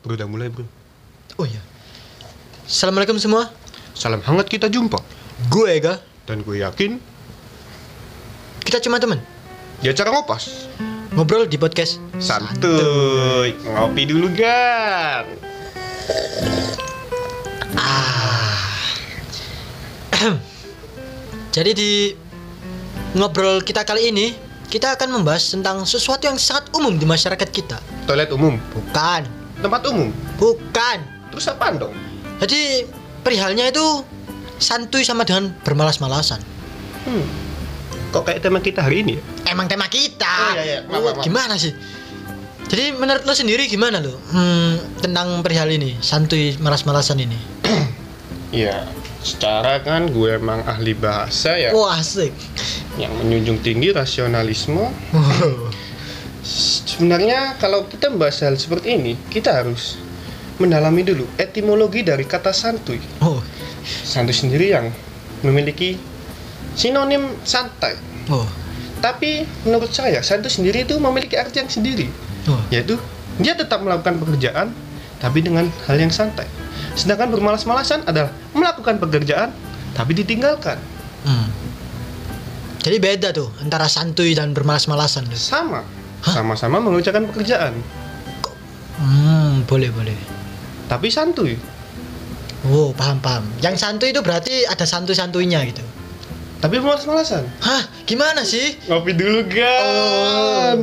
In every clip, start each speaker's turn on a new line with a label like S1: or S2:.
S1: Bro, udah mulai bro.
S2: Oh iya. Assalamualaikum semua.
S1: Salam hangat kita jumpa.
S2: Gue Ega.
S1: Dan gue yakin,
S2: Kita cuma teman.
S1: ya cara ngopas.
S2: Ngobrol di podcast.
S1: Santuy. Ngopi dulu, Gan.
S2: Jadi di ngobrol kita kali ini kita akan membahas tentang sesuatu yang sangat umum di masyarakat kita.
S1: Toilet umum.
S2: Bukan,
S1: Tempat umum.
S2: bukan.
S1: Terus apaan dong?
S2: Jadi perihalnya itu santuy sama dengan bermalas-malasan.
S1: Hmm. Kok kayak tema kita hari ini ya?
S2: Emang tema kita.
S1: Oh, iya, iya. Maaf, maaf, maaf.
S2: Gimana sih? Jadi menurut lo sendiri gimana lo hmm, tentang perihal ini santuy malas-malasan ini?
S1: Iya. Secara kan gue emang ahli bahasa ya.
S2: Wah asik.
S1: Yang menjunjung tinggi rasionalisme. Oh. Sebenarnya kalau kita membahas hal seperti ini, kita harus mendalami dulu etimologi dari kata santuy.
S2: Oh,
S1: Santuy sendiri yang memiliki sinonim santai.
S2: oh,
S1: Tapi menurut saya, santuy sendiri itu memiliki arti yang sendiri,
S2: oh.
S1: yaitu dia tetap melakukan pekerjaan tapi dengan hal yang santai. Sedangkan bermalas-malasan adalah melakukan pekerjaan tapi ditinggalkan.
S2: Hmm. Jadi beda tuh antara santuy dan bermalas-malasan. Lu.
S1: Sama,
S2: Hah?
S1: sama-sama mengerjakan pekerjaan,
S2: Hmm, boleh boleh.
S1: tapi santuy.
S2: Wow, Oh, paham paham. Yang santuy itu berarti ada santuy-santuinya gitu.
S1: Tapi bermalas-malasan.
S2: Hah, gimana sih?
S1: Ngopi dulu, Gan.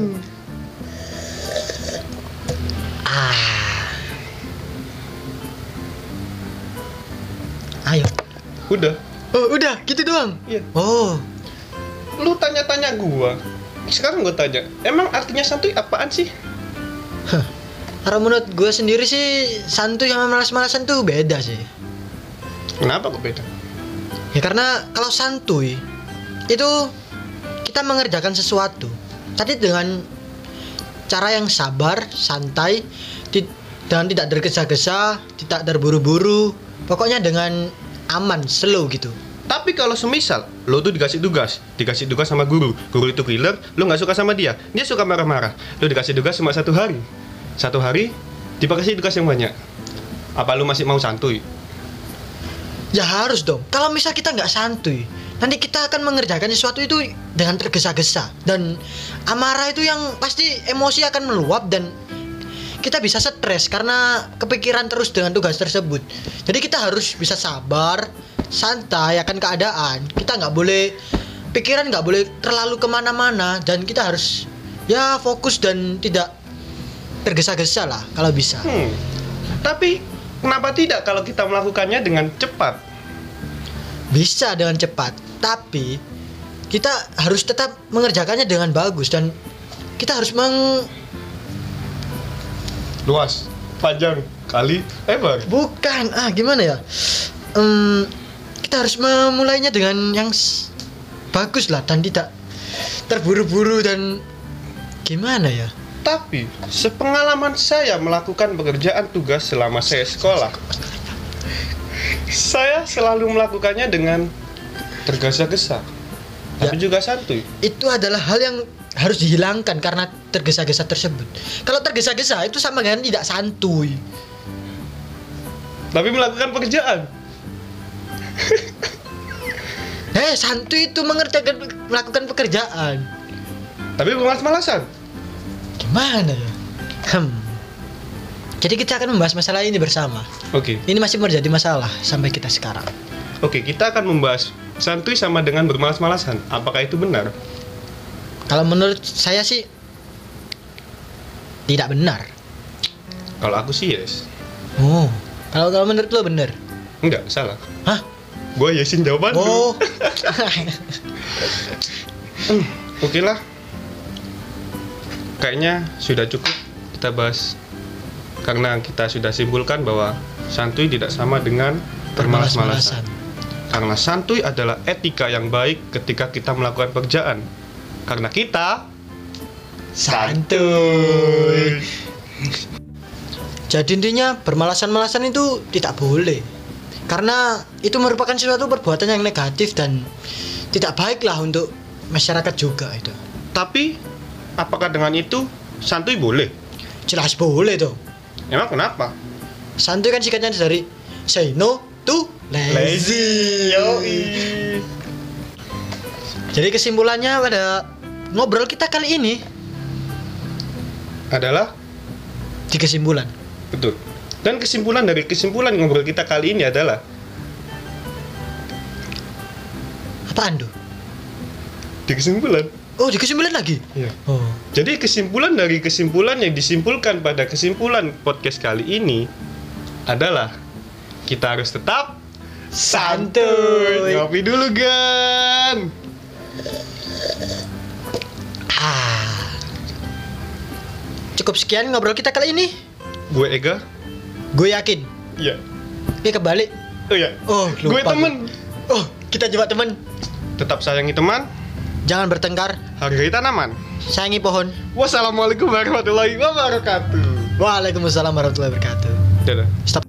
S2: Ah. Ayo.
S1: Udah.
S2: Oh, udah, gitu doang.
S1: Iya.
S2: Oh,
S1: Lu tanya-tanya gua. Sekarang gua tanya, emang artinya santuy apaan sih?
S2: kalau menurut gue sendiri sih santuy sama malas-malasan tuh beda sih.
S1: Kenapa kok beda?
S2: Ya karena kalau santuy itu kita mengerjakan sesuatu tapi dengan cara yang sabar, santai ti- dan tidak tergesa-gesa, tidak terburu-buru, pokoknya dengan aman, slow gitu.
S1: Tapi kalau semisal lo tuh dikasih tugas, dikasih tugas sama guru, guru itu killer, lo nggak suka sama dia, dia suka marah-marah. Lo dikasih tugas cuma satu hari, satu hari dikasih tugas yang banyak. Apa lo masih mau santuy?
S2: Ya harus dong. Kalau misal kita nggak santuy, nanti kita akan mengerjakan sesuatu itu dengan tergesa-gesa dan amarah itu yang pasti emosi akan meluap dan kita bisa stres karena kepikiran terus dengan tugas tersebut. Jadi kita harus bisa sabar, santai akan keadaan. Kita nggak boleh pikiran nggak boleh terlalu kemana-mana dan kita harus ya fokus dan tidak tergesa-gesa lah kalau bisa.
S1: Hmm. Tapi kenapa tidak kalau kita melakukannya dengan cepat?
S2: bisa dengan cepat, tapi kita harus tetap mengerjakannya dengan bagus dan kita harus meng
S1: Luas, panjang, kali, lebar.
S2: bukan ah gimana ya? Em, kita harus memulainya dengan yang s- bagus lah dan tidak terburu-buru dan gimana ya?
S1: Tapi sepengalaman saya melakukan pekerjaan tugas selama saya sekolah, saya selalu melakukannya dengan tergesa-gesa, tapi juga santuy.
S2: Itu adalah hal yang harus dihilangkan karena tergesa-gesa tersebut. Kalau tergesa-gesa itu sama dengan tidak santuy.
S1: Tapi melakukan pekerjaan.
S2: Eh, santuy itu mengerjakan melakukan pekerjaan.
S1: Tapi bermalas-malasan.
S2: Gimana ya? Hmm. Jadi kita akan membahas masalah ini bersama.
S1: Oke,
S2: Ini masih menjadi masalah sampai kita sekarang.
S1: oke, kita akan membahas santuy sama dengan bermalas-malasan. Apakah itu benar?
S2: Kalau menurut saya sih tidak benar.
S1: Kalau aku sih yes.
S2: Oh, kalau kalau menurut lo benar.
S1: Enggak, salah.
S2: Hah?
S1: Gue yesin jawaban lu.
S2: Oh.
S1: Oke lah. Kayaknya sudah cukup kita bahas karena kita sudah simpulkan bahwa santuy tidak sama dengan bermalas-malasan. Karena santuy adalah etika yang baik ketika kita melakukan pekerjaan. Karena kita
S2: Santuy. Jadi intinya bermalasan-malasan itu tidak boleh. Karena itu merupakan sesuatu perbuatan yang negatif dan tidak baiklah untuk masyarakat juga itu.
S1: Tapi apakah dengan itu santuy boleh?
S2: Jelas boleh dong.
S1: Emang kenapa?
S2: Santuy kan singkatnya dari say no to lazy.
S1: Lazy. Yoi.
S2: Jadi kesimpulannya pada ngobrol kita kali ini
S1: Adalah
S2: di kesimpulan
S1: betul. Dan kesimpulan dari kesimpulan ngobrol kita kali ini adalah
S2: apaan tuh?
S1: di kesimpulan.
S2: Oh, di kesimpulan lagi.
S1: Iya.
S2: Oh.
S1: Jadi kesimpulan dari kesimpulan yang disimpulkan pada kesimpulan podcast kali ini adalah kita harus tetap
S2: Santuy.
S1: Ngopi dulu, Gan.
S2: Ah. Cukup sekian ngobrol kita kali ini.
S1: Gue Ega.
S2: Gue yakin.
S1: Iya.
S2: Ini kebalik.
S1: Oh iya.
S2: Oh, lupa
S1: Gue temen.
S2: Oh, kita coba temen.
S1: Tetap sayangi teman,
S2: Jangan bertengkar.
S1: hargai tanaman.
S2: Sayangi pohon.
S1: Wassalamualaikum warahmatullahi wabarakatuh.
S2: Waalaikumsalam warahmatullahi wabarakatuh.
S1: Dadah.
S2: Stop.